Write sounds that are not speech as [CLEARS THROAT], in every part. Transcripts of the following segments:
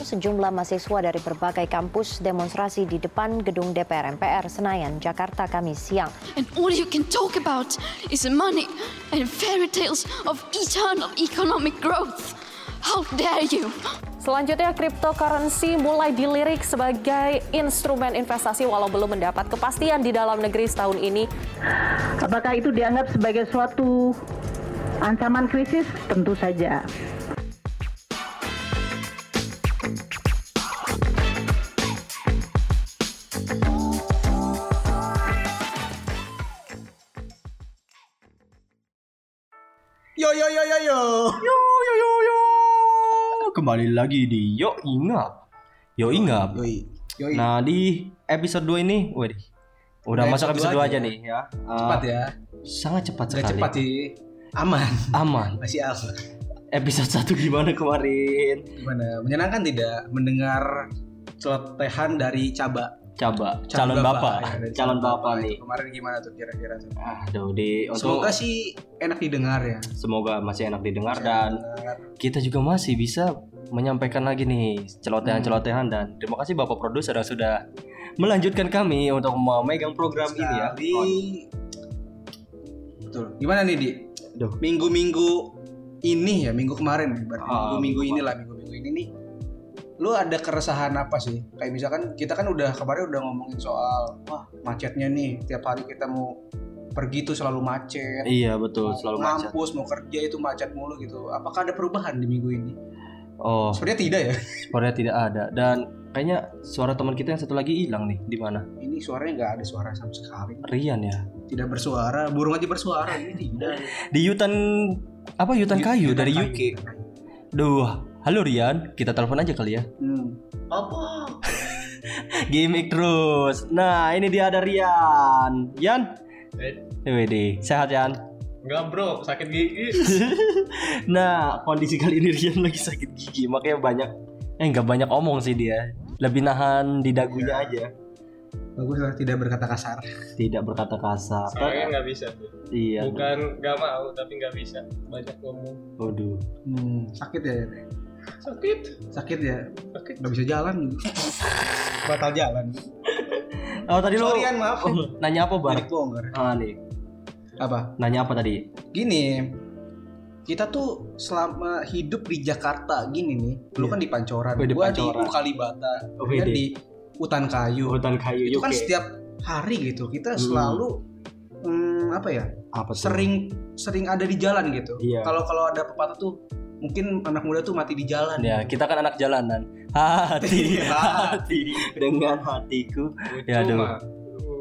Sejumlah mahasiswa dari berbagai kampus demonstrasi di depan gedung DPR MPR Senayan, Jakarta Kamis siang. And all you can talk about is money and fairy tales of eternal economic growth. How dare you? Selanjutnya, cryptocurrency mulai dilirik sebagai instrumen investasi walau belum mendapat kepastian di dalam negeri setahun ini. Apakah itu dianggap sebagai suatu ancaman krisis? Tentu saja. Yo yo yo yo yo. Yo yo yo yo. Kembali lagi di Yo Ingap. Yo Ingap. Yoi. Yoi. Nah, di episode 2 ini, waduh. Udah Nah, masuk episode episode 2 dua aja aja. nih ya. Eh, cepat ya. Sangat cepat ya? Sudah sekali. cepat sih. Aman. Aman. Masih aman. Episode 1 gimana kemarin? Gimana? Menyenangkan tidak mendengar celotehan dari Caba? Coba Caba calon bapak, Iya, ya, dari calon bapak nih. Kemarin gimana tuh kira-kira? tuh? Aduh, di untung- Semoga sih enak didengar ya. semoga masih enak didengar Enak dan didengar. kita juga masih bisa menyampaikan lagi nih celotehan-celotehan dan terima kasih Bapak produser yang sudah melanjutkan kami untuk memegang program ini ya. Sekali. Betul. Gimana nih, Di? Aduh. Minggu-minggu ini ya, minggu kemarin, berarti Ah, minggu-minggu minggu inilah, minggu-minggu ini nih. Lu ada keresahan apa sih? Kayak misalkan kita kan udah kemarin udah ngomongin soal wah, macetnya nih, tiap hari kita mau pergi tuh selalu macet. Iya betul selalu macet. Mampus mau kerja itu macet mulu gitu. Apakah ada perubahan di minggu ini? Oh, Sebenarnya tidak ya. suaranya tidak ada dan kayaknya suara teman kita yang satu lagi hilang nih di mana? Ini suaranya nggak ada suara sama sekali. Rian ya. Tidak bersuara, burung aja bersuara. Ini tidak. Di Yutan apa Yutan kayu dari Kayu, UK. Yutan kayu. Duh, halo Rian, kita telepon aja kali ya. Hmm. Apa? Gimik terus. Nah, ini dia ada Rian. Yan. WD, sehat Yan. Eh. Enggak bro, sakit gigi. [LAUGHS] nah kondisi kali ini Rian lagi sakit gigi makanya banyak eh nggak banyak omong sih dia lebih nahan di dagunya Iya. aja Bagus lah tidak berkata kasar. tidak berkata kasar Soalnya nggak bisa tuh. iya Bukan nggak mau, tapi nggak bisa. Banyak ngomong. waduh Hmm, sakit ya, Sakit, sakit ya, sakit. nggak bisa jalan, batal jalan. oh tadi lo Sorry, An, maaf. Oh, nanya apa bar Jadi bongkar. ah nih Apa? nanya apa tadi Gini, kita tuh selama hidup di Jakarta gini nih, lu Iya. kan di Pancoran, Oh, di gua Pancoran. di Kalibata, Oh, dia iya. Kan di hutan kayu. hutan kayu Itu kan UK. setiap hari gitu, kita Hmm. selalu hmm, apa ya? apa tuh? Sering sering ada di jalan gitu. Iya. Kalau kalau ada pepatah tuh mungkin anak muda tuh mati di jalan. ya [LAUGHS] kita kan anak jalanan hati Iya. hati dengan hatiku Ya, aduh. Cuma, uh,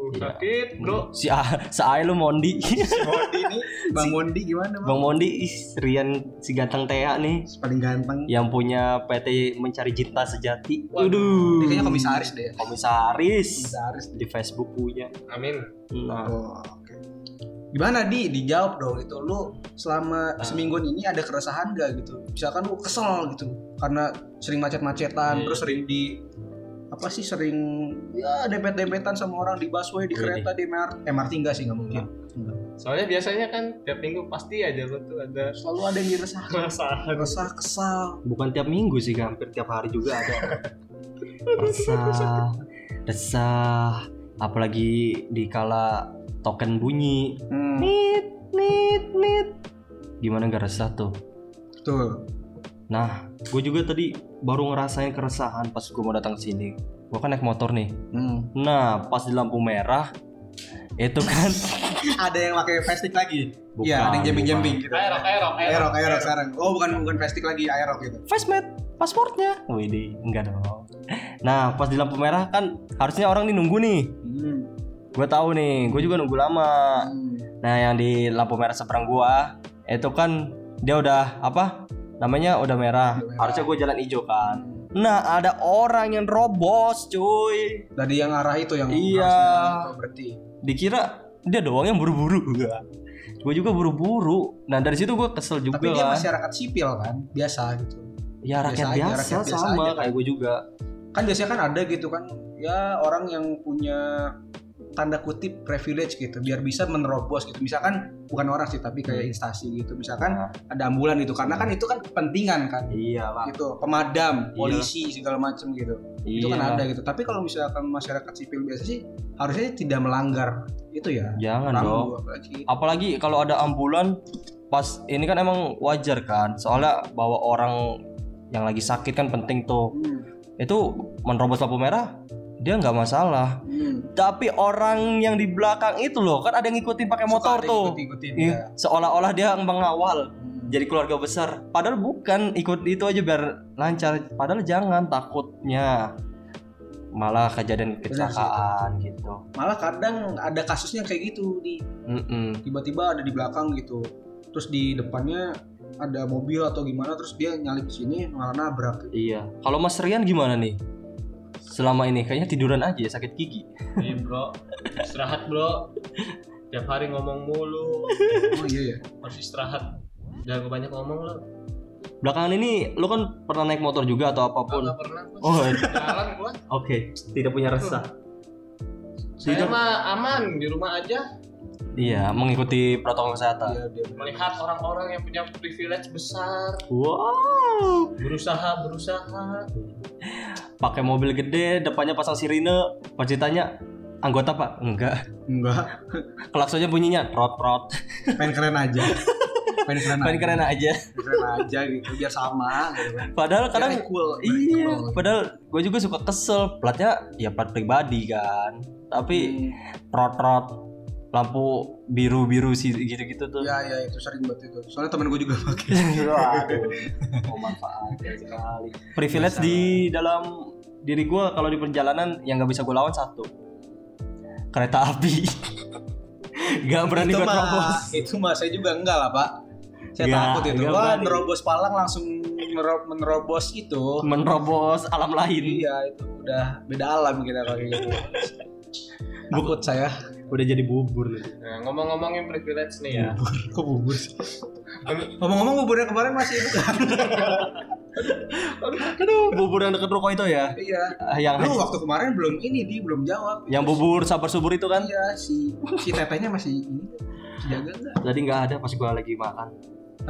Iya. sakit bro. si ah seai lu Mondi [LAUGHS] Mondi ini, Bang Mondi gimana, Bang? Bang Mondi ih, Rian si ganteng Tea nih Paling ganteng. yang punya PT Mencari Cinta Sejati. Waduh. Waduh. Dia kayaknya komisaris deh. Komisaris Komisaris di Facebook punya. Amin. Nah, Oh, oke. Gimana di dijawab dong itu lu selama Nah. semingguan ini ada keresahan gak gitu? Misalkan lu kesel gitu karena sering macet-macetan, Iya. terus sering di apa sih sering ya dempet-dempetan sama orang di busway, di Iya, kereta, di MRT. MRT enggak sih nggak mungkin. Soalnya biasanya kan tiap minggu pasti aja lo tuh ada Selalu ada yang diresahkan, perasaan. resah, kesal. bukan tiap minggu sih, Kak. hampir tiap hari juga ada. Resah, resah, apalagi di kala token bunyi. Hmm, Nit, nit, nit. Gimana gak resah tuh? betul. Nah, gue juga tadi baru ngerasain keresahan pas gue mau datang ke sini. Gue kan naik motor nih. Hmm. Nah, pas di lampu merah, itu kan ada yang pakai plastik lagi. [LAUGHS] Bukan, Iya, ada yang jamping-jamping gitu. Aerok, aerok, Aerok, aerok sekarang. Oh, bukan bukan plastik lagi, aerok gitu. Facemat, pasportnya. Widih, enggak dong. Nah, pas di lampu merah kan harusnya orang nih nunggu nih. Hmm. Gue tahu nih, gue juga nunggu lama. Hmm. Nah, yang di lampu merah seberang gua itu kan dia udah apa? Namanya udah merah. Udah merah. Harusnya gue jalan hijau kan. Nah, ada orang yang robos, cuy. Tadi yang arah itu yang Iya. harusnya itu berarti. Dikira dia doang yang buru-buru. [LAUGHS] Enggak. Gue juga buru-buru. Nah, dari situ gue kesel juga. Tapi dia lah. masyarakat sipil kan, biasa gitu. ya rakyat biasa aja, biasa, rakyat biasa sama aja kan. kayak gue juga. Kan biasanya kan ada gitu kan, ya orang yang punya tanda kutip privilege gitu biar bisa menerobos gitu misalkan bukan orang sih tapi kayak Hmm. instansi gitu misalkan Nah, ada ambulan gitu karena kan itu kan kepentingan kan iyalah gitu Iya. pemadam polisi segala macam gitu itu kan iyalah. ada gitu tapi kalau misalkan masyarakat sipil biasa sih harusnya tidak melanggar itu ya jangan Iya dong rambu apalagi apalagi kalau ada ambulan pas ini kan emang wajar kan soalnya bawa orang yang lagi sakit kan penting tuh Hmm, itu menerobos lampu merah dia nggak masalah hmm. tapi orang yang di belakang itu loh kan ada yang ngikutin pakai Suka motor ada tuh ikut-ikutin, Iya, ya. seolah-olah dia mengawal Hmm. jadi keluarga besar padahal bukan ikut itu aja biar lancar padahal jangan takutnya malah kejadian kecelakaan gitu malah kadang ada kasusnya kayak gitu di Mm-mm. tiba-tiba ada di belakang gitu terus di depannya ada mobil atau gimana terus dia nyalip ke sini malah nabrak Iya. Kalau Mas Rian gimana nih? Selama ini kayaknya tiduran aja ya, sakit gigi. Iya bro, istirahat bro. Tiap hari ngomong mulu, oh iya ya [LAUGHS] harus istirahat. Jangan banyak ngomong lo. Belakangan ini lu kan pernah naik motor juga atau apapun. Gak pernah. gua. Oh, oke. Jalan gua. Tidak punya resah. Saya Tidak. mah aman di rumah aja. Iya, mengikuti protokol kesehatan. dia Iya, dia Melihat orang-orang yang punya privilege besar, Wow. berusaha berusaha. Pakai mobil gede, depannya pasang sirine, pas ditanya anggota Pak? Enggak. enggak Klaksonnya bunyinya trot trot. main keren aja main keren Main aja. keren aja. Main keren aja gitu biar sama gitu kan. Padahal kadang Biar equal Iya, padahal gue juga suka kesel platnya ya plat pribadi kan. Hmm. Tapi trot-trot lampu biru-biru sih gitu-gitu tuh. [LAUGHS] Gitu, ya ya itu sering banget itu soalnya temen gue juga pakai [LAUGHS] Privilege di dalam diri gue kalau di perjalanan yang nggak bisa gue lawan satu kereta api. [LAUGHS] gak berani itu gue mah terobos. itu mah saya juga enggak lah pak saya Enggak, takut itu Iya, enggak wah berani. nerobos palang langsung mero- menerobos itu Hmm. Menerobos alam lain. iya itu udah beda alam kita kalau kayak gitu takut saya Udah jadi bubur nih. Nah, ngomong-ngomongin privilege nih ya. Kok bubur sih? Ngomong-ngomong buburnya kemarin masih itu kan? Aduh, bubur yang deket ruko itu ya. iya. Ah, Yang Lu waktu kemarin belum ini di belum jawab. yang bubur sabar subur itu kan. Iya si si tetehnya masih ini masih jaga nggak? Tadi nggak ada pas gue lagi makan.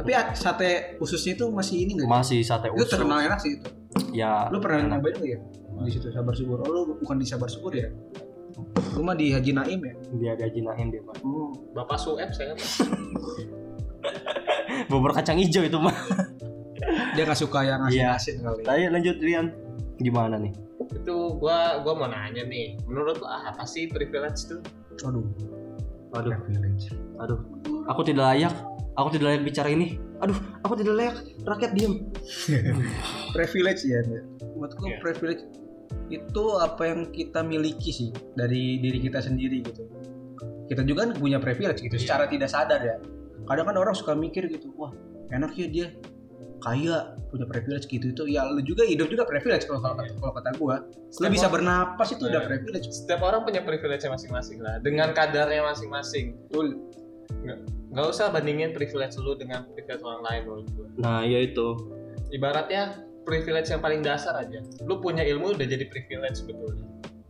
Tapi ah, sate ususnya itu masih ini nggak? Masih sate Itu usus. terkenal enak sih itu. Ya. Lu pernah enak. nyobain nggak ya? Di situ sabar subur. Oh lu bukan di sabar subur ya? Lu mah di Haji Naim ya? Dia ada jinain dia, Pak. Oh. Bapak Sueb saya Bubur kacang hijau itu mah. Dia nggak suka yang Iya. asin-asin kali. Tadi lanjut Rian. Gimana nih? itu gua gua mau nanya nih. Menurut lo ah, apa sih privilege tuh? Aduh. Aduh, aduh. Aku tidak layak. Aku tidak layak bicara ini. Aduh, aku tidak layak. Rakyat diam. [LAUGHS] privilege ya Nek. buatku Iya. privilege itu apa yang kita miliki sih dari diri kita sendiri gitu kita juga kan punya privilege gitu Iya. secara tidak sadar ya kadang kan orang suka mikir gitu wah enak ya dia kaya punya privilege gitu itu ya lu juga hidup juga privilege kalau kalau kata, kalau kata gua lu bisa bernapas itu udah Iya. privilege Setiap orang punya privilege masing-masing lah, dengan kadarnya masing-masing. betul Gak usah bandingin privilege lu dengan privilege orang lain menurut gue. Nah, ya itu. Ibaratnya privilege yang paling dasar aja. Lu punya ilmu udah jadi privilege sebetulnya.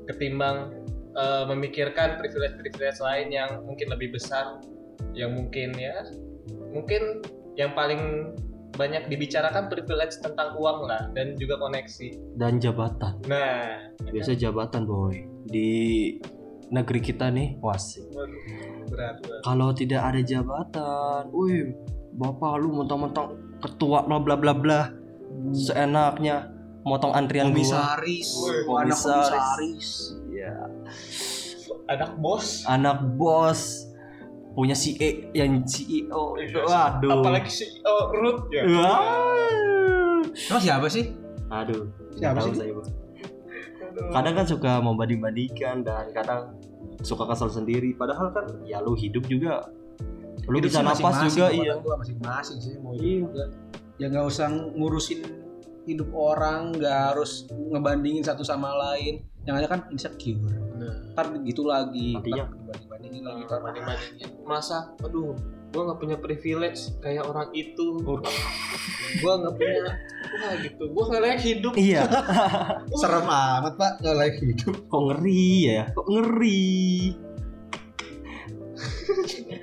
Ketimbang eh, memikirkan privilege-privilege lain yang mungkin lebih besar, yang mungkin ya, mungkin yang paling banyak dibicarakan privilege tentang uang lah dan juga koneksi. Dan jabatan. Nah, Biasa jabatan, boy. Di negeri kita nih, wasik. waduh, berat berat. Kalau tidak ada jabatan, wih, bapak lu mentang-mentang ketua bla bla bla bla. Seenaknya motong antrian gua. komisaris Woi, anak komisaris. komisaris Iya. Anak bos, anak bos punya CE yang E CEO itu aduh apalagi si oh, Ruth ya. E Iya. Wah. emang siapa sih aduh Siapa nggak tahu sih saya, Bang. kadang kan suka membanding-bandingkan dan kadang suka kesal sendiri padahal kan ya lu hidup juga lu Hidup bisa sih napas masing-masing juga kalau iya kata gua masing-masing sih mau hidup Iya. juga ya nggak usah ngurusin hidup orang nggak harus ngebandingin satu sama lain yang ada kan insecure Nah. ntar gitu lagi Nantinya. banding bandingin Ah, lagi ntar banding bandingin masa aduh gue nggak punya privilege kayak orang itu gue nggak punya wah gitu gue nggak layak hidup iya [LAUGHS] serem amat pak nggak lagi hidup kok ngeri ya kok ngeri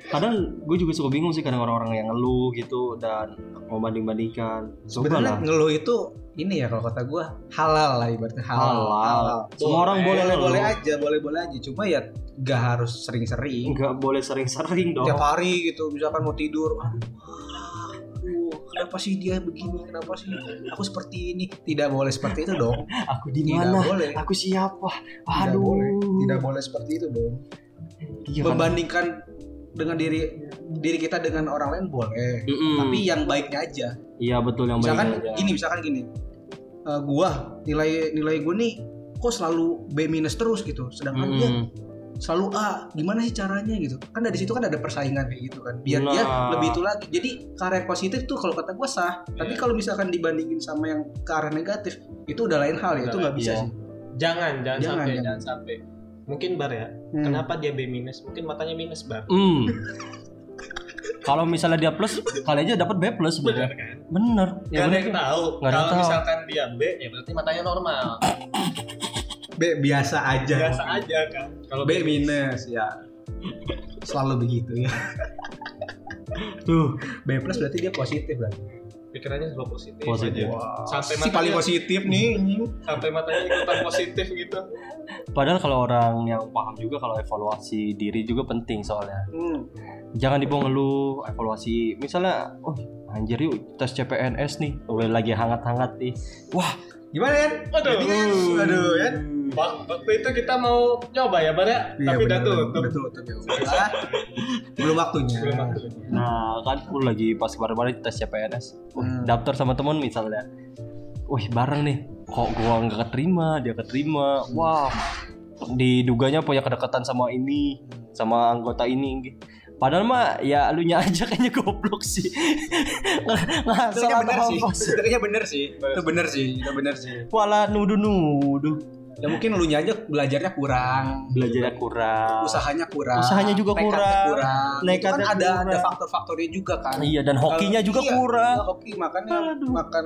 Kadang gue juga suka bingung sih kadang orang-orang yang ngeluh gitu dan mau banding-bandingkan. Coba lah. Sebenarnya ngeluh itu ini ya kalau kata gue halal lah ibaratnya halal. Halal. Semua orang boleh boleh, ngeluh. aja, boleh boleh aja. Cuma ya gak harus sering-sering. Enggak boleh sering-sering dong. Tiap hari gitu, misalkan mau tidur, aduh, aduh, kenapa sih dia begini? Kenapa sih aku seperti ini? Tidak boleh seperti itu dong. Aku di Tidak mana? boleh. Aku siapa? Tidak Aduh. boleh. Tidak boleh seperti itu dong. Iya, kan? Membandingkan dengan diri diri kita dengan orang lain boleh, Mm-mm. tapi yang baiknya aja. iya betul yang baik misalkan aja. gini misalkan gini Eh gua nilai nilai gua nih kok selalu B minus terus gitu sedangkan dia Mm-mm. selalu A gimana sih caranya gitu kan dari situ kan ada persaingan kayak gitu kan biar dia Nah. lebih itu lagi jadi ke arah positif tuh kalau kata gua sah tapi Iya. kalau misalkan dibandingin sama yang ke arah negatif itu udah lain hal ya itu nggak bisa Iya. sih Jangan, Jangan, jangan, sampai, jangan. jangan. sampai. Mungkin bar ya. Hmm. Kenapa dia B minus? Mungkin matanya minus bar. Mm. [LAUGHS] Kalau misalnya dia plus, kali aja dapat B plus Benar sebenarnya. kan? Bener. Gak ada yang kan? tahu. Nggak ada yang Kalau tahu. misalkan dia B, ya berarti matanya normal. B biasa aja Iya. Biasa aja kan. Kalau B minus ya selalu begitu ya Tuh, B plus berarti dia positif berarti pikirannya selalu positif. Positif. aja. si Sampai paling matanya, positif nih sampai matanya ikutan positif gitu. Padahal kalau orang yang paham juga kalau evaluasi diri juga penting soalnya. Hmm. Jangan dibawa ngeluh evaluasi. Misalnya, oh anjir yuk tes CPNS nih, udah lagi hangat-hangat nih. Wah, gimana ya Aduh. Jadi Iya. kan, aduh ya Wak- Waktu itu kita mau nyoba ya, Bar ya? Tapi udah tutup. Iya, Udah tutup ya. Udah. Belum waktunya. Belum waktu. nah kan lu lagi pas kemarin-kemarin tes CPNS, Wah, Hmm. daftar sama temen misalnya. Wih bareng nih, kok gua nggak keterima, dia keterima. Wah, diduganya punya kedekatan sama ini, sama anggota ini. Padahal mah ya lu nya aja kayaknya goblok sih. [LAUGHS] Ngasal Sebenarnya atau bener sih. apa sih? Sebenarnya bener sih. Itu bener sih. Itu bener sih. Wala nuduh nuduh Ya mungkin lu aja belajarnya kurang. belajarnya kurang. Usahanya kurang. Usahanya juga Nekatnya kurang. kurang. Itu Nekatnya kan ada ada kurang. faktor-faktornya juga kan. Iya dan hokinya Kalau- juga iya, kurang. iya, Hoki makanya Aduh. makan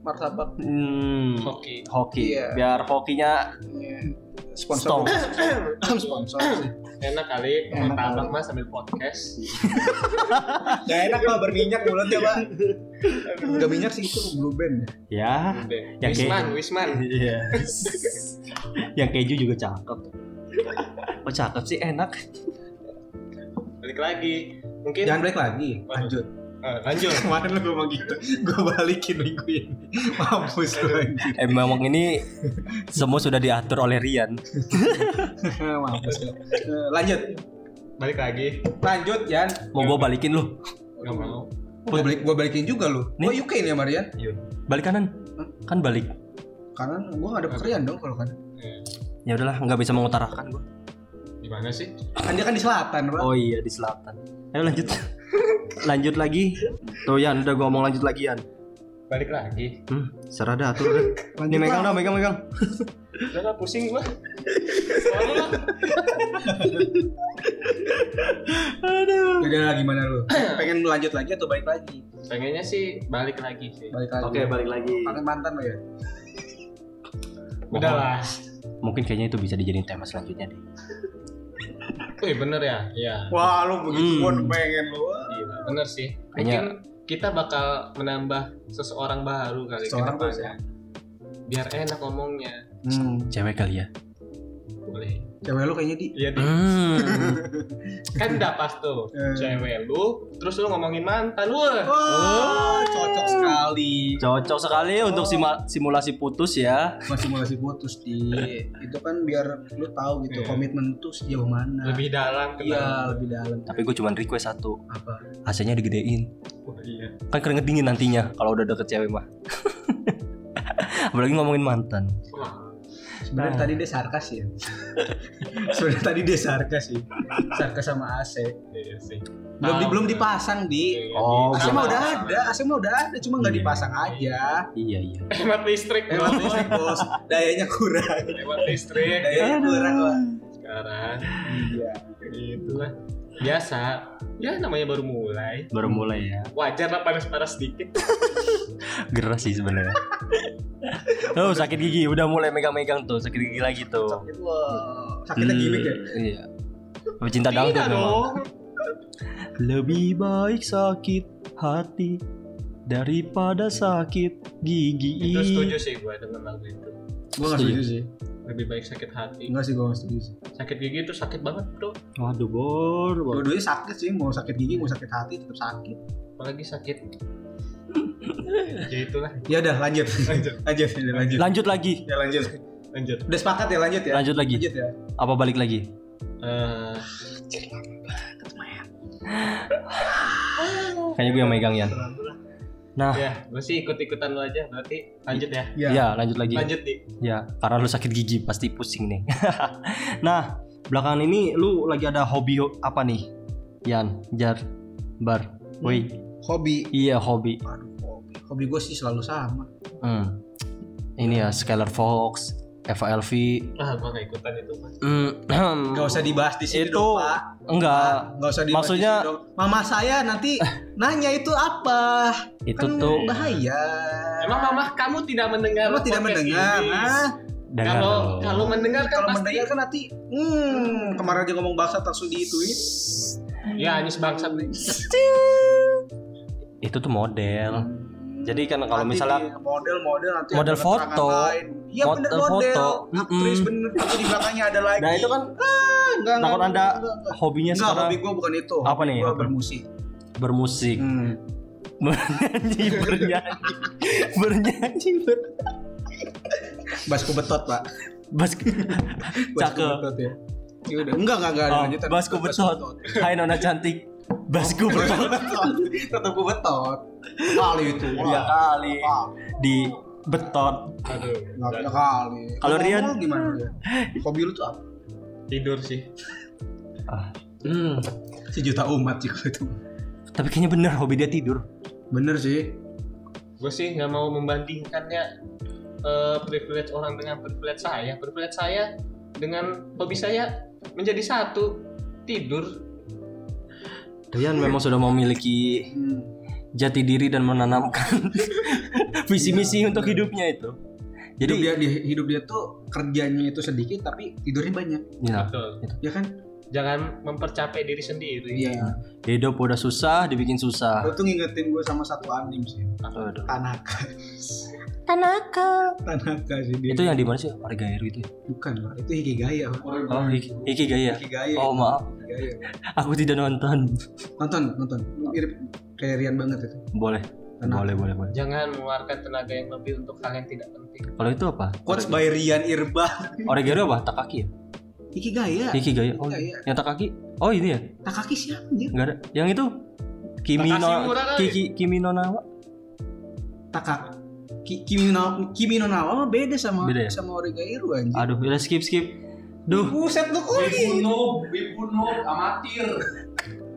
martabak. Hmm, Oke. hoki. Iya. Biar hokinya Iya. Stop. Sponsor. [COUGHS] Sponsor sih. Enak kali, Enak martabak kali. mas sambil [LAUGHS] podcast. Gak enak lah berminyak mulut ya pak. Gak minyak sih itu blue band. ya. ya. Udah. Ya, Wisman, kayak- Wisman. Iya. Yang keju juga cakep. Oh cakep sih enak. Balik lagi. Mungkin Jangan balik lagi. Lanjut. Eh, [LAUGHS] lanjut. kemarin lu ngomong gitu gue balikin minggu ini mampus lu anjir. Eh memang ini semua sudah diatur oleh Rian. mampus lu Eh, lanjut Balik lagi. lanjut Jan Mau gua balikin lu. Gak mau. gue balik gue balikin juga lu Nih. gue UK nih Marian Balik kanan. Kan balik. karena gue gak ada pekerjaan dong kalau kan Ya udahlah, nggak bisa mengutarakan gua. Eh, Gimana sih? kan dia kan di selatan pak Oh iya di selatan. Ayo lanjut. lanjut lagi. Tuh Yan, udah gua ngomong lanjut lagi Yan. Balik lagi. Hmm, serah dah atur dah. Ini megang dah, megang megang. Udah lah, pusing gua. Jadi lah gimana lu pengen lanjut lagi atau balik lagi [LAUGHS] Pengennya sih balik lagi sih. balik lagi Oke, balik lagi. Kangen mantan lo ya Udah lah. Mungkin kayaknya itu bisa dijadiin tema selanjutnya deh. Wih bener ya? Iya. wah lu begituan pengen lu Gila, bener sih. Kayaknya- Mungkin kita bakal menambah seseorang baru kali ke Seorang depannya. baru ya? Biar enak ngomongnya. hmm. Cewek kali ya. Boleh. cewek lu kayaknya di Iya, Di. Hmm. kan udah pas tuh. Eh. Cewek lu, terus lu ngomongin mantan. Wah. wah Oh, cocok sekali Cocok sekali untuk sima- simulasi putus ya. masih mulai putus di itu kan biar lu tahu gitu Iya. komitmen tuh sejauh mana Lebih dalam kenal. Iya, lebih dalam. Tapi gue cuman request satu. apa? AC-nya digedein. Wah, iya. Kan keringet dingin nantinya kalau udah deket cewek mah. [LAUGHS] Apalagi ngomongin mantan. Sebenarnya Nah. tadi dia sarkas ya. [LAUGHS] Sebenarnya tadi dia sarkas sih. Sarkas sama AC. Iya sih. Belum di, Tahu, belum kan? dipasang di. Iya, Oh, di- AC mah udah ada, AC mah udah ada, cuma nggak Iya. dipasang aja. Iya iya. Hemat listrik, Lewat Bro. listrik bos, dayanya kurang. Hemat listrik. Iya. Dayanya kurang lah. Sekarang Iya. gitu lah. Biasa. Ya namanya baru mulai. Baru mulai ya. Wajar lah panas-panas sedikit. Gerah sih sebenarnya. [LAUGHS] Tuh sakit gigi udah mulai megang-megang tuh sakit gigi lagi tuh. Sakit wah. Sakitnya Hmm, gimmick ya. Iya. Pecinta Tidak dangdut memang. dong. Lebih baik sakit hati daripada sakit gigi. itu setuju sih gue dengan lagu itu Gue gak setuju sih. lebih baik sakit hati Enggak sih gue gak setuju sih. sakit gigi itu sakit banget bro Waduh, bor. bor. Dua-duanya sakit sih, mau sakit gigi, mau sakit hati, tetap sakit. apalagi sakit ya itulah Ya udah lanjut. Lanjut. [LAUGHS] lanjut, ya udah, lanjut. Lanjut lagi. Ya lanjut. lanjut Udah sepakat ya lanjut ya. Lanjut lagi. Lanjut ya. Apa balik lagi? Eh, Kayaknya gue yang megang ya. terlalu lah. Nah, ya gue sih ikut ikutan lo aja berarti lanjut ya ya, lanjut lagi. lanjut nih Ya, karena lu sakit gigi pasti pusing nih. [LAUGHS] nah, belakangan ini lu lagi ada hobi apa nih? Yan, Jar, Bar. Hmm. Woi, Hobi. iya hobi. Aduh, hobi. Hobi gue sih selalu sama. Hmm. Ini ya Skylar Fox, Eva Elvi. ah gue gak ikutan itu mas Hmm, [CLEARS THROAT] Gak usah dibahas di sini Itu- dong, Pak. enggak. Gak usah dibahas di Maksudnya- sini dong. Mama saya [LAUGHS] nanti nanya itu apa? Itu kan tuh bahaya. emang mama kamu tidak mendengar Kamu tidak podcast mendengar, ini? ah. dengar kalau dong. kalau mendengar kan Kalau pasti mendengar kan nanti, hmm, kemarin aja ngomong bahasa langsung diituin. ya Anies bangsat nih itu tuh model. Hmm. Jadi kan kalau Nanti dia misalnya model-model nanti ada Model keterangan foto. lain. Iya bener Model model. foto. Aktris Mm-mm. bener tapi di belakangnya ada lagi. Nah, itu kan Ah, enggak, takut enggak, Anda enggak, enggak. hobinya Enggak, sekarang hobi gue bukan itu. Apa nih? Gue Apa? bermusik. bermusik, Hmm. [LAUGHS] bernyanyi, [LAUGHS] bernyanyi, bernyanyi, ber... Basku betot, Pak. [LAUGHS] basket, Basku cakep. betot ya. Ya udah, enggak enggak enggak ada Oh, lanjutan. ya. basku betot. [LAUGHS] Hai Nona cantik. Basku betot. Tetap gue betot. Kali itu. Tiga kali di betot. aduh Enggak ada kali. Kalau Ngomong Rian- lu gimana? Rian? Hobi lu tuh apa? tidur sih Hmm. Sejuta umat sih kalau itu. Tapi kayaknya bener hobi dia tidur. Bener sih. gue sih nggak mau membandingkannya eh, privilege orang dengan privilege saya privilege saya dengan hobi saya menjadi satu tidur Rian memang sudah memiliki Hmm. jati diri dan [LAUGHS] menanamkan Iya. visi misi untuk hidupnya itu. Jadi Jadi hidup dia, dia- hidup dia tuh kerjanya itu sedikit tapi tidurnya banyak, ya, betul ya kan? jangan mempercapek diri sendiri Iya. hidup udah susah dibikin susah. Lu tuh ngingetin gue sama satu anim sih, Aduh. Tanaka. [LAUGHS] Tanaka. Tanaka sih dia. Itu yang di mana sih? Origairu itu. ya? Bukan lah, itu Hikigaya. Pak. Oh, Iki- Ikigaya. Hikigaya. Oh, maaf. Hikigaya. Aku tidak nonton. Nonton, nonton. Lu mirip kayak Rian banget itu. Boleh. Tanaka. Boleh, boleh, boleh. jangan mengeluarkan tenaga yang lebih untuk hal yang tidak penting Kalau itu apa? Coach by Rian Irba. Origairu apa? Takaki ya? Hikigaya. Ikigaya. Oh, Hikigaya. yang Takaki. Oh, ini ya. Takaki siapa anjir? Enggak ada. Yang itu Kimi no Makasih murah kali. Kiki Kimi no Nawa. Takak. Ki- Kimi no, Kimi no Nawa mah beda sama Beda ya? sama Origairu anjir. Aduh, udah skip skip. Duh, Buset lu kok gitu.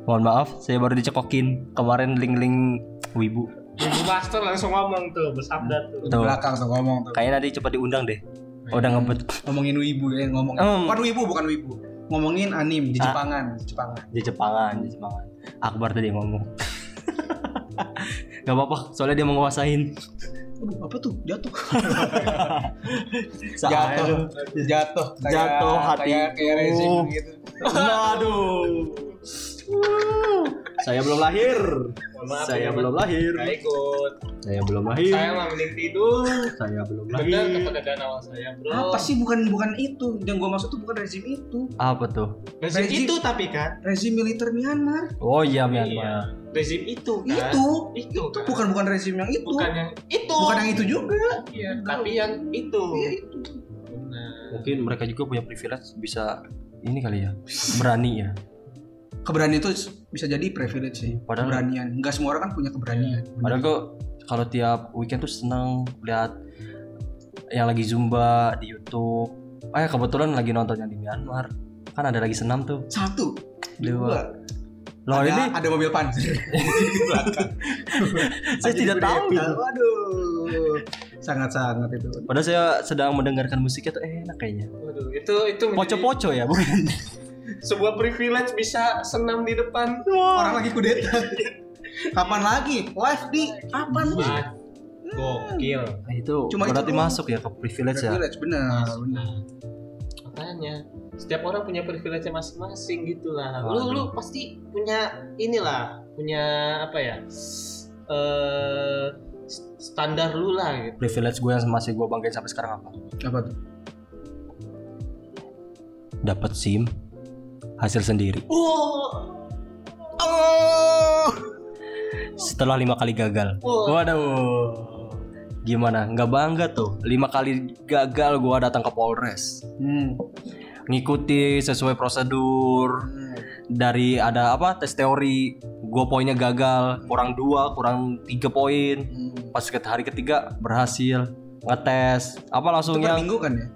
mohon maaf, saya baru dicekokin kemarin link-link Wibu. Ibu Master langsung ngomong tuh bersabda Di tuh Tuh, belakang tuh ngomong tuh. kayaknya nanti cepat diundang deh. Oh, Udah ngebet [LAUGHS] Ngomongin wibu ya, ngomongin. Hmm. Bukan wibu, bukan wibu. Ngomongin anim di Ah. Jepangan, di Jepangan. di Jepangan, di Jepangan. Akbar tadi yang ngomong. [LAUGHS] Gak apa-apa, soalnya dia menguasain. Aduh, apa tuh? [LAUGHS] Jatuh. Saat- Jatuh. Kayak- Jatuh hati. Kayak kayak resin Oh. gitu. Aduh. saya belum lahir. ya. saya belum lahir. Gak ikut Saya belum lahir. saya mah mending tidur Saya belum bener lahir. kepedean awal saya bro Nah. Apa sih bukan bukan itu? Yang gue maksud tuh bukan rezim itu. Apa tuh? rezim Rezim- itu tapi kan Rezim militer Myanmar. Oh iya, Iya. Myanmar. rezim itu kan Itu. itu Itu kan? bukan bukan rezim yang itu. bukan yang itu Bukan yang itu juga. Iya, tapi yang itu Iya itu. Benar. mungkin mereka juga punya privilege bisa ini kali ya berani ya Keberanian itu bisa jadi privilege sih. Padahal- Iya. keberanian. Enggak semua orang kan punya keberanian. padahal kok kalau tiap weekend tuh seneng lihat yang lagi zumba di YouTube ah ya kebetulan lagi nonton yang di Myanmar kan ada lagi senam tuh Satu, dua dua. loh Iya. ada, ini Iya, ada mobil pan. [LAUGHS] Di belakang. [LAUGHS] saya Ada tidak di tahu belakang. Waduh. Sangat-sangat itu. padahal saya sedang mendengarkan musiknya tuh enak kayaknya Waduh, itu itu Iya. menjadi poco-poco ya [LAUGHS] bukan sebuah privilege bisa senam di depan Orang lagi kudeta. [LAUGHS] Kapan lagi? Live di kapan nih? Wah, gokil Hmm. Nah, itu Cuma itu berarti doang. masuk ya ke privilege ya Privilege benar. benar. makanya susahnya setiap orang punya privilege masing-masing gitu lah Waduh. lu lu pasti punya inilah punya apa ya eh s- standar lu lah gitu privilege gue yang masih gue banggain sampai sekarang apa Apa tuh? dapat sim hasil sendiri oh oh setelah lima kali gagal Wah. waduh gimana nggak bangga tuh lima kali gagal gue datang ke Polres Hmm. ngikuti sesuai prosedur dari ada apa tes teori gue poinnya gagal kurang dua kurang tiga poin pas ke hari ketiga berhasil ngetes Itu apa per langsungnya minggu kan ya?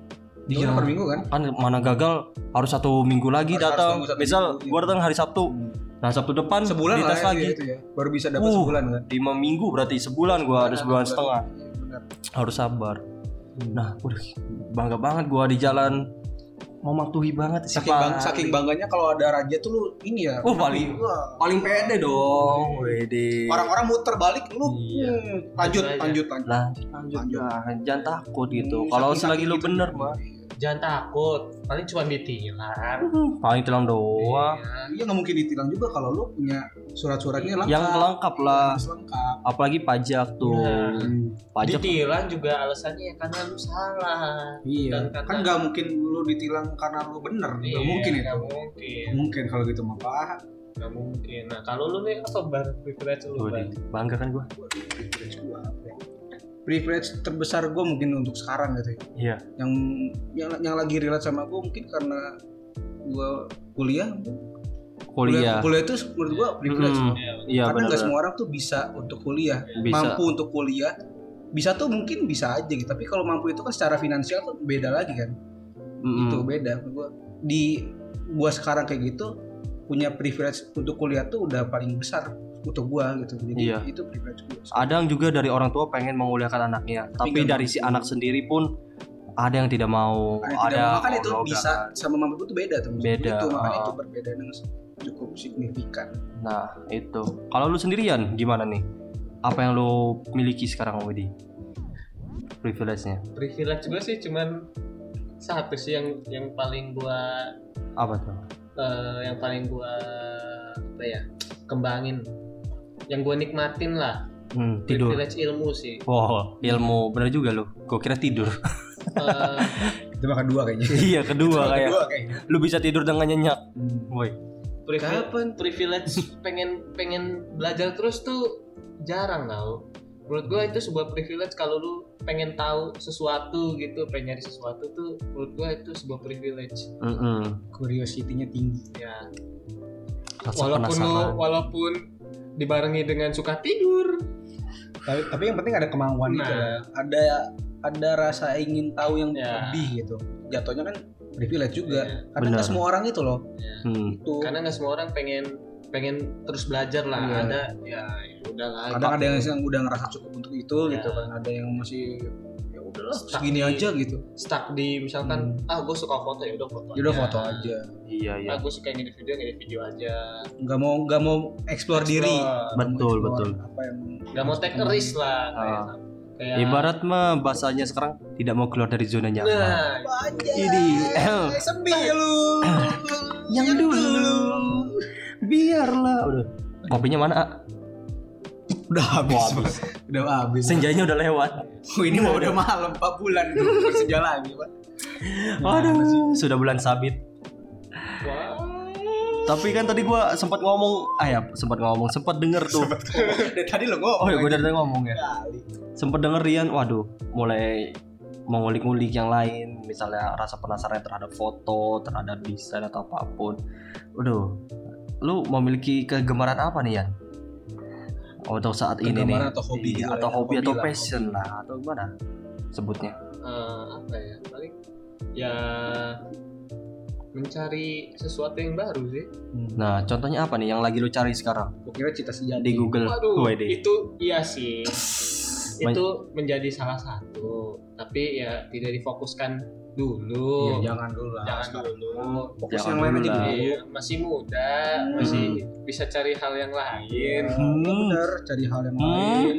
Itu Iya. kan per minggu kan? kan mana gagal harus satu minggu lagi Harus- harus datang nunggu satu misal minggu, iya. gue datang hari Sabtu nah Sabtu depan Sebulan lah dites ya, lagi itu ya. Baru bisa dapat Uh, sebulan kan? lima minggu berarti sebulan gue ada sebulan setengah Iya, benar. harus sabar nah waduh, bangga banget gue di jalan mematuhi banget sih Saking, bang, saking bangganya kalau ada raja tuh lu ini ya. Oh, paling- Wah. paling pede dong wede Orang-orang muter balik lu. Iya. hmm, lanjut, Lanjut aja. lanjut, lanjut. lanjut lanjut jangan, jangan takut gitu kalau Saking- selagi lu saking bener gitu. mah jangan takut paling cuma ditilang paling tilang doang Iya nggak mungkin ditilang juga kalau lu punya surat-suratnya lengkap. Iya, yang lengkap lah Harus lengkap. apalagi pajak tuh Iya. pajak ditilang juga alasannya ya, karena lu salah Iya. Dan Kan karena- nggak mungkin lu ditilang karena lu bener. Nggak Iya, mungkin itu. nggak Nggak mungkin mungkin kalau gitu mah Pak. nggak mungkin nah kalau lu nih apa bar privilege Wede, lu bar bangga kan gue Privilege gua apa ya? Privilege terbesar gue mungkin untuk sekarang gitu ya. iya yang yang yang lagi relate sama gue mungkin karena gue kuliah kuliah kuliah itu menurut gue privilege Mm, iya karena nggak benar semua orang tuh bisa untuk kuliah bisa mampu untuk kuliah bisa tuh mungkin bisa aja gitu tapi kalau mampu itu kan secara finansial tuh beda lagi kan Mm-mm. itu beda gue di gue sekarang kayak gitu punya privilege untuk kuliah tuh udah paling besar untuk gue gitu jadi Iya. itu privilege gue ada yang juga dari orang tua pengen menguliakan anaknya tapi, nggak dari si mampu. anak sendiri pun ada yang tidak mau ada makan Nah, itu orang bisa sama mampu itu beda tuh maksudnya. Beda, itu makanya ah. itu perbedaan yang cukup signifikan Nah, itu. Kalau lu sendirian gimana nih? Apa yang lu miliki sekarang, Widi? Privilege-nya. privilege gue sih cuman satu sih yang yang paling gua Apa tuh? eh, yang paling gua apa ya kembangin yang gua nikmatin lah Hmm, tidur. privilege ilmu sih Wow, ilmu bener juga lu. Gua kira tidur. Eh, itu makan dua kayaknya iya, kedua Makan kayak dua kayaknya lu bisa tidur dengan nyenyak. Woi. privilege Kapan? [LAUGHS] privilege pengen pengen belajar terus tuh jarang tau menurut gue itu sebuah privilege kalau lu pengen tahu sesuatu gitu pengen nyari sesuatu tuh menurut gue itu sebuah privilege Mm-mm. curiosity-nya tinggi ya Rasa walaupun lu penasaran. walaupun dibarengi dengan suka tidur tapi, tapi yang penting ada kemauan itu Nah. ada ada rasa ingin tahu yang Ya. lebih gitu jatuhnya kan privilege juga Ya. karena nggak Benar. semua orang itu loh Hmm. itu karena nggak semua orang pengen pengen terus belajar lah Iya. ada ya ya udahlah kadang ada yang, yang udah ngerasa cukup untuk itu Ya. gitu kan ada yang masih ya udahlah Stuck segini di- aja gitu stuck di misalkan ah gue suka foto ya udah foto ya udah Hmm. foto aja Iya, iya. ah gue suka ngedit video ngedit video aja nggak mau nggak mau explore diri Explore. Betul, Mau betul. explore apa yang nggak mau take a Hmm. risk lah Ah. kayak, kayak Ibarat mah bahasanya sekarang tidak mau keluar dari zona ya, nyaman. nah aja Ini sepi [COUGHS] lu yang dulu. Biarlah. Udah. Kopinya mana? Ah? udah habis Wah, habis. udah habis Senjanya udah lewat. Oh, ini mau udah malam 4 bulan itu bersenja lagi [LAUGHS] pak Aduh, sudah bulan sabit. Tapi kan tadi gua sempat ngomong, ah ya, sempat ngomong, sempat denger tuh. dari tadi lo ngomong Oh ya, gua dari tadi ngomong ya. Sempat denger Rian, waduh, mulai mengulik-ngulik yang lain, misalnya rasa penasaran terhadap foto, terhadap desain atau apapun. Waduh, lu memiliki kegemaran apa nih, Yan? Untuk saat ini nih, Kegemaran atau hobi Iya, gitu ya. atau hobi, Hobi atau lah, passion lah, atau gimana sebutnya? eh, apa ya paling ya mencari sesuatu yang baru sih Nah, contohnya apa nih yang lagi lu cari sekarang gue kira cita sejati di Google? waduh Wede. itu iya sih Men- itu menjadi salah satu tapi ya tidak difokuskan Iya, dulu jangan dulu lah Hmm. jangan Sekarang. dulu fokus Jangan yang lain dulu aja lah. dulu Iya, masih muda Hmm. masih bisa cari hal yang lain Hmm. Iya, bener cari hal yang Hmm. lain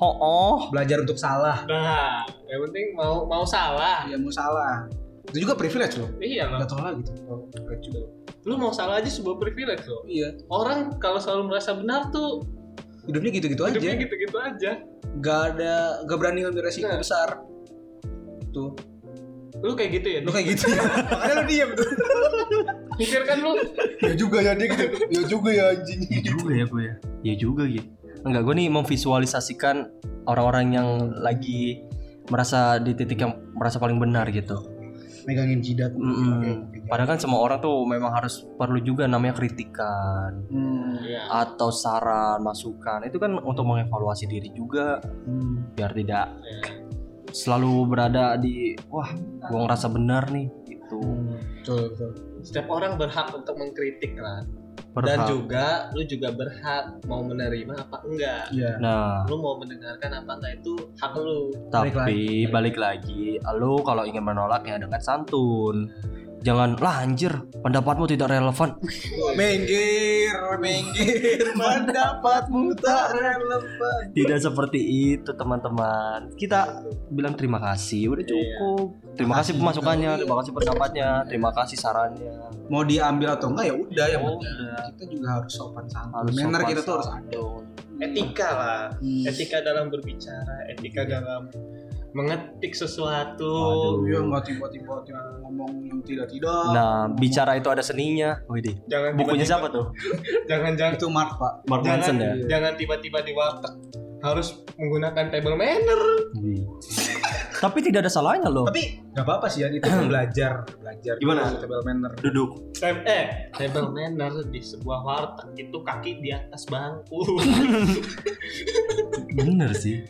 Ho oh. belajar untuk salah nah yang penting mau mau salah ya mau salah itu juga privilege loh Iya nggak loh. tahu lagi tuh Privilege loh. Lu mau salah aja sebuah privilege loh. iya Orang kalau selalu merasa benar tuh hidupnya gitu. gitu-gitu aja hidupnya gitu-gitu aja. nggak ada nggak berani ngambil resiko Nah. besar tuh Lu kayak gitu ya. lu kayak gitu ya [LAUGHS] makanya lu diem tuh Pikirkan lu. ya juga ya dia gitu ya juga ya anjing Iya juga ya gue ya. Iya juga gitu. Enggak, gue nih memvisualisasikan orang-orang yang lagi merasa di titik yang merasa paling benar gitu. megangin jidat Mm-mm. Padahal kan semua orang tuh memang harus perlu juga namanya kritikan Hmm. Iya. atau saran, masukan. Itu kan untuk mengevaluasi diri juga Hmm. biar tidak selalu berada di wah, gue ngerasa benar nih gitu. betul betul Setiap orang berhak untuk mengkritik kan. Berhak. Dan juga lu juga berhak mau menerima apa enggak. iya Nah, Lu mau mendengarkan apa enggak itu hak lu. tapi balik lagi, lu kalau ingin menolak ya dengan santun. Jangan lah anjir, pendapatmu tidak relevan. [LAUGHS] minggir [LAUGHS] minggir pendapatmu tak relevan tidak seperti itu teman-teman kita bilang terima kasih udah cukup terima kasih pemasukannya terima kasih pendapatnya terima kasih sarannya mau diambil atau enggak ya udah yang Oh, penting udah. kita juga harus sopan santun Harus manner sopan kita tuh harus ada santun. Etika lah. Hmm. Etika dalam berbicara, etika dalam mengetik sesuatu. Iya. Waduh. Iya nggak tiba-tiba tiba ngomong yang tidak-tidak. nah bicara itu ada seninya Widih. Jangan bukunya tiba-tiba- siapa tuh Jangan jangan itu Mark Pak. Mark Manson jangan, ya jangan tiba-tiba di warteg harus menggunakan table manner. Widih. tapi tidak ada salahnya loh Tapi nggak apa-apa sih ya itu [CLEARS THROAT] belajar, belajar. Gimana? Table manner. duduk Tem- eh, table manner di sebuah warteg itu kaki di atas bangku. [LAUGHS] bener sih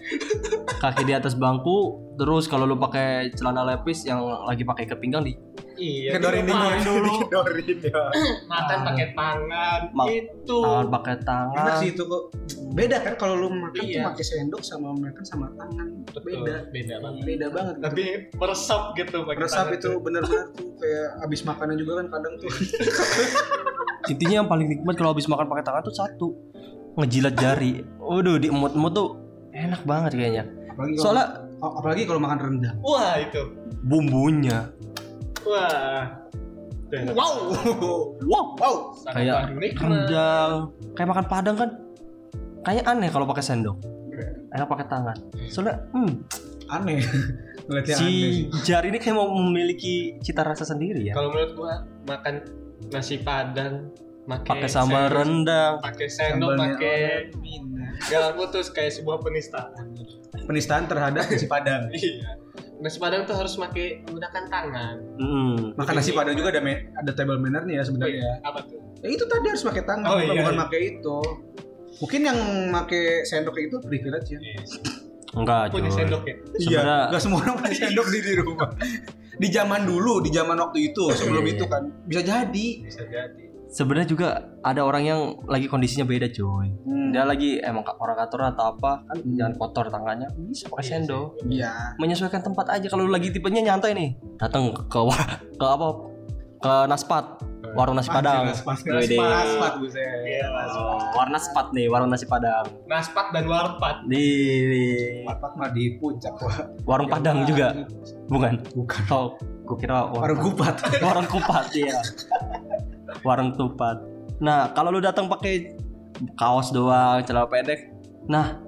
kaki di atas bangku terus kalau lu pakai celana lepis yang lagi pakai ikat pinggang di iya. Kedorin lu makan Ya, dulu. [LAUGHS] Kedorin ya. Makan pakai tangan gitu. Ma- itu. tangan pakai tangan Enak sih itu kok. Beda kan kalau lu makan tuh Iya. pakai sendok sama makan sama tangan. Beda. beda banget. Beda banget. Tapi meresap gitu pakai Resap tangan itu tuh. bener-bener tuh kayak abis makanan juga kan kadang tuh. Intinya yang paling nikmat kalau habis makan pakai tangan tuh satu ngejilat jari. Waduh, di emut-emut tuh enak banget kayaknya. Apalagi kalau, Soalnya apalagi kalau makan rendang. Wah, itu. bumbunya Wah. Wow. wow. Wow. kayak rendang, kayak makan padang kan. Kayak aneh kalau pakai sendok. Iya. Enak pakai tangan. Soalnya hmm, Aneh. Ngeliatnya aneh si sih. jari ini kayak mau memiliki cita rasa sendiri ya. Kalau menurut gua makan nasi padang Pakai sambal rendang. pakai sendok Sambalnya pakai orang Minang. galak putus kayak sebuah penistaan [LAUGHS] penistaan terhadap nasi padang. iya nasi padang tuh harus pakai menggunakan tangan Mm. Makan nasi padang juga ada me- ada table mannernya ya sebenarnya. ya. apa tuh Ya itu tadi harus pakai tangan, Oh, bukan, iya, bukan iya. pakai itu. Mungkin yang pakai sendok itu privilege ya. Enggak, punya cuy. sendok ya Sebenarnya- nggak semua orang pakai sendok sih di rumah. Di zaman dulu, di zaman waktu itu, sebelum itu kan bisa jadi. bisa jadi Sebenarnya juga ada orang yang lagi kondisinya beda, cuy. Dia lagi emang orang kantor atau apa kan Hmm. jangan kotor tangannya bisa pakai sendok. Iya. menyesuaikan tempat aja kalau lu lagi tipenya nyantai nih datang ke wa- [LAUGHS] ke apa ke naspat warung nasi padang Naspat, Wede. naspat, buset. Iya, naspat. warna spat nih warung nasi padang naspat dan warpat di, di Naspat mah di puncak wah. warung padang juga bukan Bukan. oh gue kira Baru warung kupat. [LAUGHS] warung kupat ya warung tupat nah kalau lu datang pakai kaos doang celana pendek nah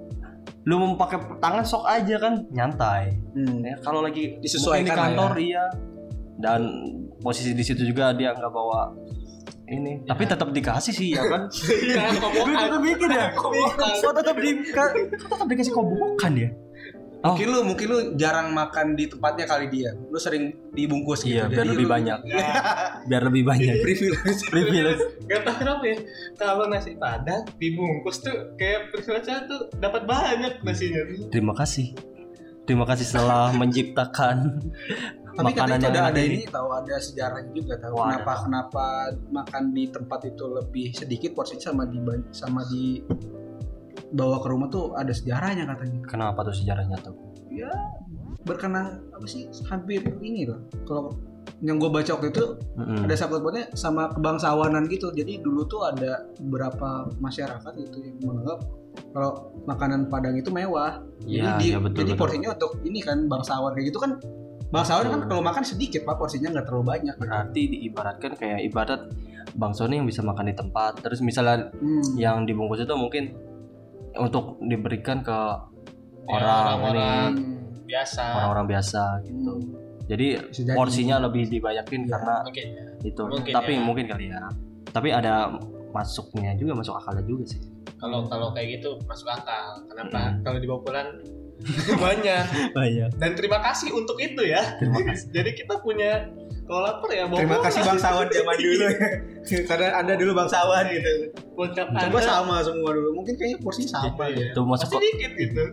lu mau pakai tangan sok aja kan nyantai Hmm. ya kalau lagi Disesuaikan mungkin di lah kantor iya dan posisi di situ juga dia nggak bawa ini tapi tetap dikasih sih ya [LAUGHS] kan iya gue tetap mikir ya Kobokan. kok tetap di ka- kok tetap dikasih kobokan ya Mungkin lu mungkin lu jarang makan di tempatnya kali dia. Lu sering dibungkus gitu. iya biar Jadi lebih lu- banyak [LAUGHS] biar lebih banyak Privilege. privilege Gak tau kenapa ya Kalau nasi padang dibungkus tuh Kayak privilege tuh dapat banyak nasinya terima kasih terima kasih telah menciptakan [LAUGHS] Tapi makanan katanya itu yang ada, ada enak ini ini tahu ada sejarahnya juga tahu Wah, kenapa ada. kenapa makan di tempat itu lebih sedikit porsinya sama di sama di bawa ke rumah tuh ada sejarahnya katanya. kenapa tuh sejarahnya tuh Ya berkenan apa sih hampir ini loh. Kalau yang gue baca waktu itu Mm-mm. ada sahabat-sahabatnya sama kebangsawanan gitu. Jadi dulu tuh ada beberapa masyarakat itu yang menganggap kalau makanan Padang itu mewah. Jadi, Iya, di- iya, betul, jadi betul. porsinya untuk ini kan bangsawan kayak gitu kan Bangsawan kan kalau makan sedikit pak porsinya nggak terlalu banyak. gitu. berarti diibaratkan kayak ibarat Bang Sony yang bisa makan di tempat terus misalnya Hmm. yang dibungkus itu mungkin untuk diberikan ke Ya, orang orang-orang Hmm, ini, biasa. orang-orang biasa gitu jadi Bisa jadi. porsinya lebih dibanyakin Iya. karena Oke. itu Mungkin tapi ya. mungkin kali ya tapi ada masuknya juga masuk akalnya juga sih Kalau kalau kayak gitu masuk akal. Kenapa? Kalau dibawa pulang [LAUGHS] banyak. banyak Dan terima kasih untuk itu ya. [LAUGHS] terima kasih Jadi kita punya kalau lapar ya bawa Terima pulang. kasih bangsawan zaman [LAUGHS] dulu. Karena anda dulu bangsawan gitu. Lengkap Coba Anda. sama semua dulu. Mungkin kayaknya porsinya sama ya. Iya, itu masuk Masih ke, dikit gitu.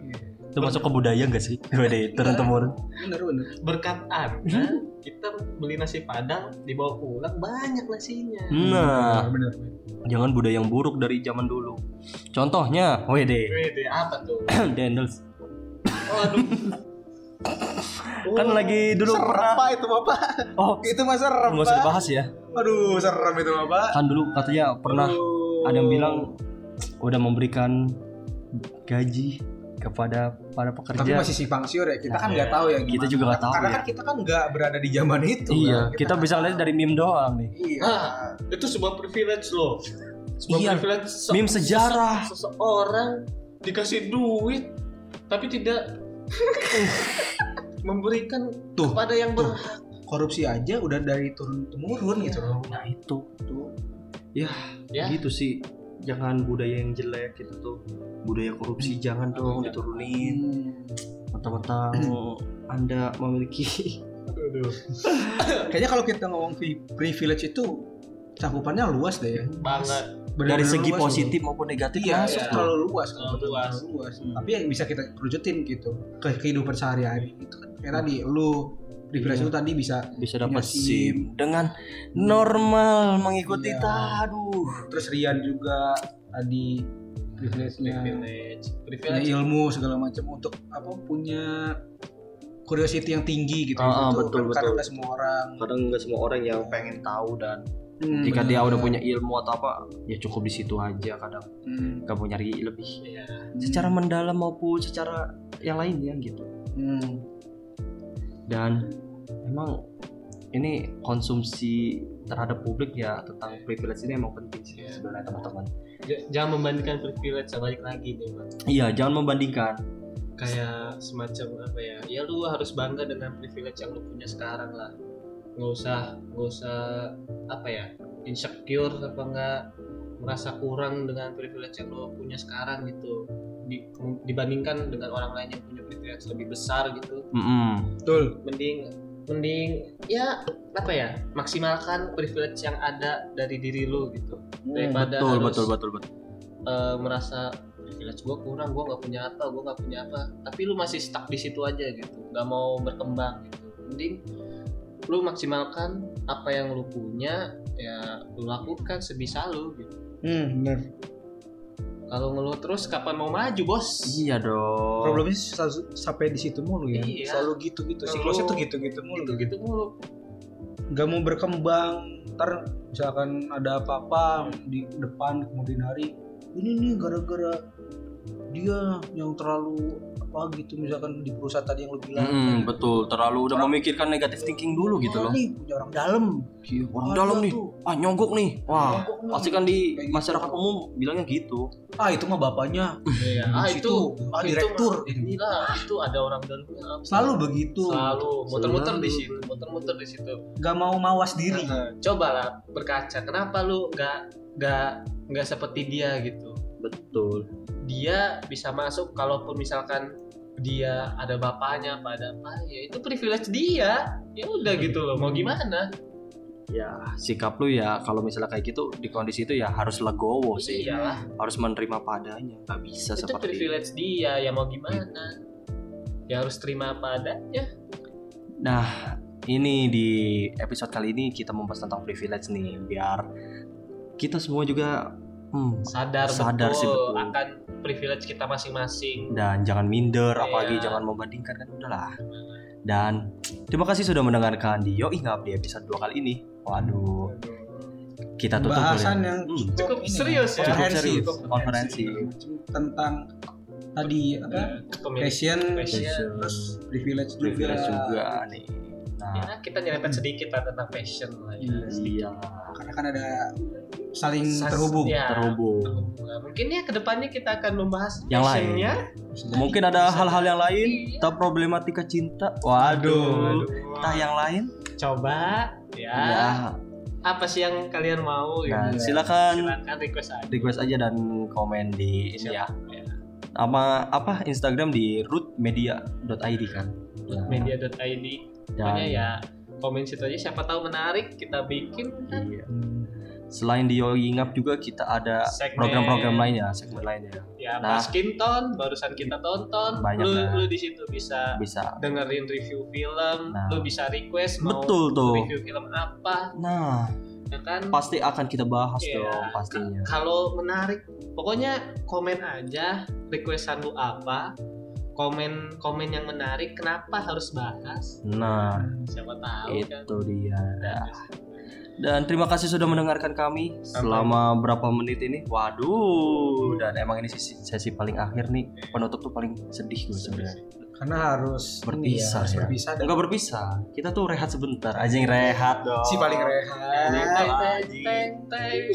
itu masuk ke budaya gak sih [LAUGHS] budaya turun temurun Bener bener. Berkat Hmm. Anda kita beli nasi padang dibawa pulang banyak nasinya. nah bener. jangan budaya yang buruk dari zaman dulu contohnya oh iya [CLEARS THROAT] wede Wede, apa tuh? dendels [LAUGHS] Waduh. kan lagi dulu Serem pernah pak itu bapak. oh Itu mah serem nggak usah pak. dibahas ya Aduh serem itu bapak. kan dulu katanya pernah Aduh. ada yang bilang udah memberikan gaji kepada para pekerja tapi masih simpang siur ya kita kan Nah, nggak tahu ya kita juga nggak tahu karena ya. kan kita kan nggak berada di zaman itu iya kan. kita, bisa lihat dari meme doang nih iya Ah, itu sebuah privilege loh. Sebuah Iya, privilege se- meme sejarah. sese- seseorang dikasih duit [LAUGHS] tapi tidak memberikan Tuh, kepada yang tuh. berhak. korupsi aja udah dari turun temurun gitu loh nah itu Tuh. ya, Ya. gitu sih jangan budaya yang jelek gitu tuh budaya Hmm. korupsi jangan dong Iya. diturunin [CLEARS THROAT] mentang-mentang anda memiliki kayaknya kalau kita ngomong pri- privilege itu cakupannya luas deh ya Banget. Benar-benar [LAUGHS] dari segi luas loh. positif maupun negatif iya masuk iya. tuh. terlalu luas Terlalu terlalu luas. luas tapi yang bisa kita kerucutin gitu ke kehidupan sehari-hari itu kan kayak tadi lu privilege Iya. lu tadi bisa bisa dapat Punya sim dengan normal mengikuti Iya. ta- aduh terus Rian juga tadi privilege-nya Privilege. punya Iya. Privilege. ilmu segala macam untuk apa punya curiosity yang tinggi gitu Ah, ah, Itu betul, kan- karena betul. nggak semua orang kadang nggak semua orang yang pengen tahu dan Hmm, jika dia udah punya ilmu atau apa ya cukup di situ aja kadang Hmm, nggak mau nyari lebih Iya. secara mendalam maupun secara yang lainnya gitu hmm. dan emang ini konsumsi terhadap publik ya tentang privilege ini emang penting sih Iya. sebenarnya teman-teman J- jangan membandingkan privilege sama balik lagi nih, Bang. iya jangan membandingkan Kayak semacam apa ya? Ya lu harus bangga dengan privilege yang lu punya sekarang lah. Nggak usah, nggak usah apa ya? Insecure apa enggak merasa kurang dengan privilege yang lu punya sekarang gitu. Di- dibandingkan dengan orang lain yang punya privilege lebih besar gitu. Mm-mm. betul Mending mending ya apa ya? Maksimalkan privilege yang ada dari diri lu gitu. Daripada Hmm, betul betul harus- betul betul eh, merasa privilege gue kurang gue nggak punya apa gue nggak punya apa tapi lu masih stuck di situ aja gitu nggak mau berkembang gitu mending lu maksimalkan apa yang lu punya ya lu lakukan sebisa lu gitu hmm, bener kalau ngeluh terus kapan mau maju bos iya dong problemnya sih selalu- sampai di situ mulu ya Oh. Iya. selalu gitu gitu Selalu- siklusnya tuh gitu gitu mulu gitu gitu mulu nggak mau berkembang ntar misalkan ada apa-apa di depan kemudian hari ini nih gara-gara dia yang terlalu apa gitu misalkan di perusahaan tadi yang lu bilang Mm-mm, Hmm, betul terlalu udah memikirkan negatif thinking dulu gitu Orang loh nih punya orang dalam Iya, orang Orang dalam dalam nih tuh. ah nyonggok nih wah Nyonggok nih. pasti kan di Kayak gitu. masyarakat umum bilangnya gitu ah itu mah bapaknya ya, ah Situ, itu ah, itu direktur. mah- inilah itu ada orang dalamnya apa? selalu gitu. begitu selalu muter-muter di Selalu. situ muter-muter di situ nggak mau mawas diri Nah, coba lah berkaca kenapa lu nggak nggak nggak seperti dia gitu betul dia bisa masuk kalaupun misalkan dia ada bapaknya apa ada apa ya itu privilege dia ya udah Hmm. gitu loh mau gimana ya sikap lu ya kalau misalnya kayak gitu di kondisi itu ya harus legowo sih iyalah harus menerima padanya nggak bisa itu seperti privilege dia ya mau gimana ya harus terima apa adanya Nah, ini di episode kali ini kita membahas tentang privilege nih, biar kita semua juga hmm, sadar, Sadar betul, sih, betul. akan privilege kita masing-masing dan jangan minder, Iya. apalagi jangan membandingkan kan udahlah. Dan terima kasih sudah mendengarkan di Yoi Ngap di episode 2 kali ini. Waduh, kita tutup dulu bahasan ya. yang Hmm, Cukup serius ya. Cukup serius. konferensi Konferensi. segala macam tentang tadi Iya. apa Pemilik passion, passion. terus privilege juga. privilege juga nih nah Ya, kita nyerempet sedikit lah tentang passion lah ya. iya Karena kan ada saling Sas- terhubung. ya, terhubung terhubung. Mungkin ya kedepannya kita akan membahas Yang lain. passionnya. Bisa jadi. mungkin ada hal-hal yang lain atau problematika cinta waduh entah yang lain Coba ya. ya Apa sih yang kalian mau? nah gitu. silakan Silakan request aja. request aja dan komen di ini ya Ya. sama apa Instagram di rootmedia.id kan iya. Nah, Media.id. Pokoknya ya komen situ aja siapa tahu menarik kita bikin kan. Iya. Selain di Yogi Ngap juga kita ada Segmen. program-program lainnya, segmen lainnya. Ya, Nah. Iya. Baskinton barusan kita tonton. Banyak lu lah. lu di situ bisa Bisa. dengerin review film, Nah. lu bisa request mau Betul tuh. review film apa, Nah, ya kan? pasti akan kita bahas Iya. dong pastinya. Kalau menarik, pokoknya komen aja requestan lu apa, komen komen yang menarik, kenapa harus bahas? Nah, Siapa tahu kan? itu dia. Dan terima kasih sudah mendengarkan kami selama berapa menit ini. Waduh, dan emang ini sesi, sesi paling akhir nih. Penutup tuh paling sedih gue sebenarnya. karena harus Berpisah, harus ya. berpisah dan Enggak berpisah. Kita tuh rehat sebentar. Anjing rehat dong. si paling Teng rehat. teng teng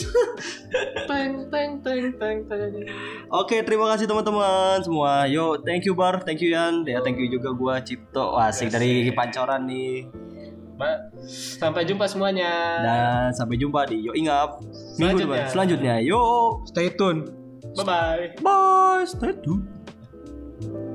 teng teng teng teng teng teng. Oke, terima kasih teman-teman semua. Yo, thank you Bar, thank you Yan, ya thank you juga gua Cipto. Wah, asik dari Pancoran nih. Ba- Sampai jumpa semuanya. Dan sampai jumpa di Yo Ingap minggu Selanjutnya. depan. Selanjutnya, yo. Stay tune. Bye bye. Bye, stay tuned.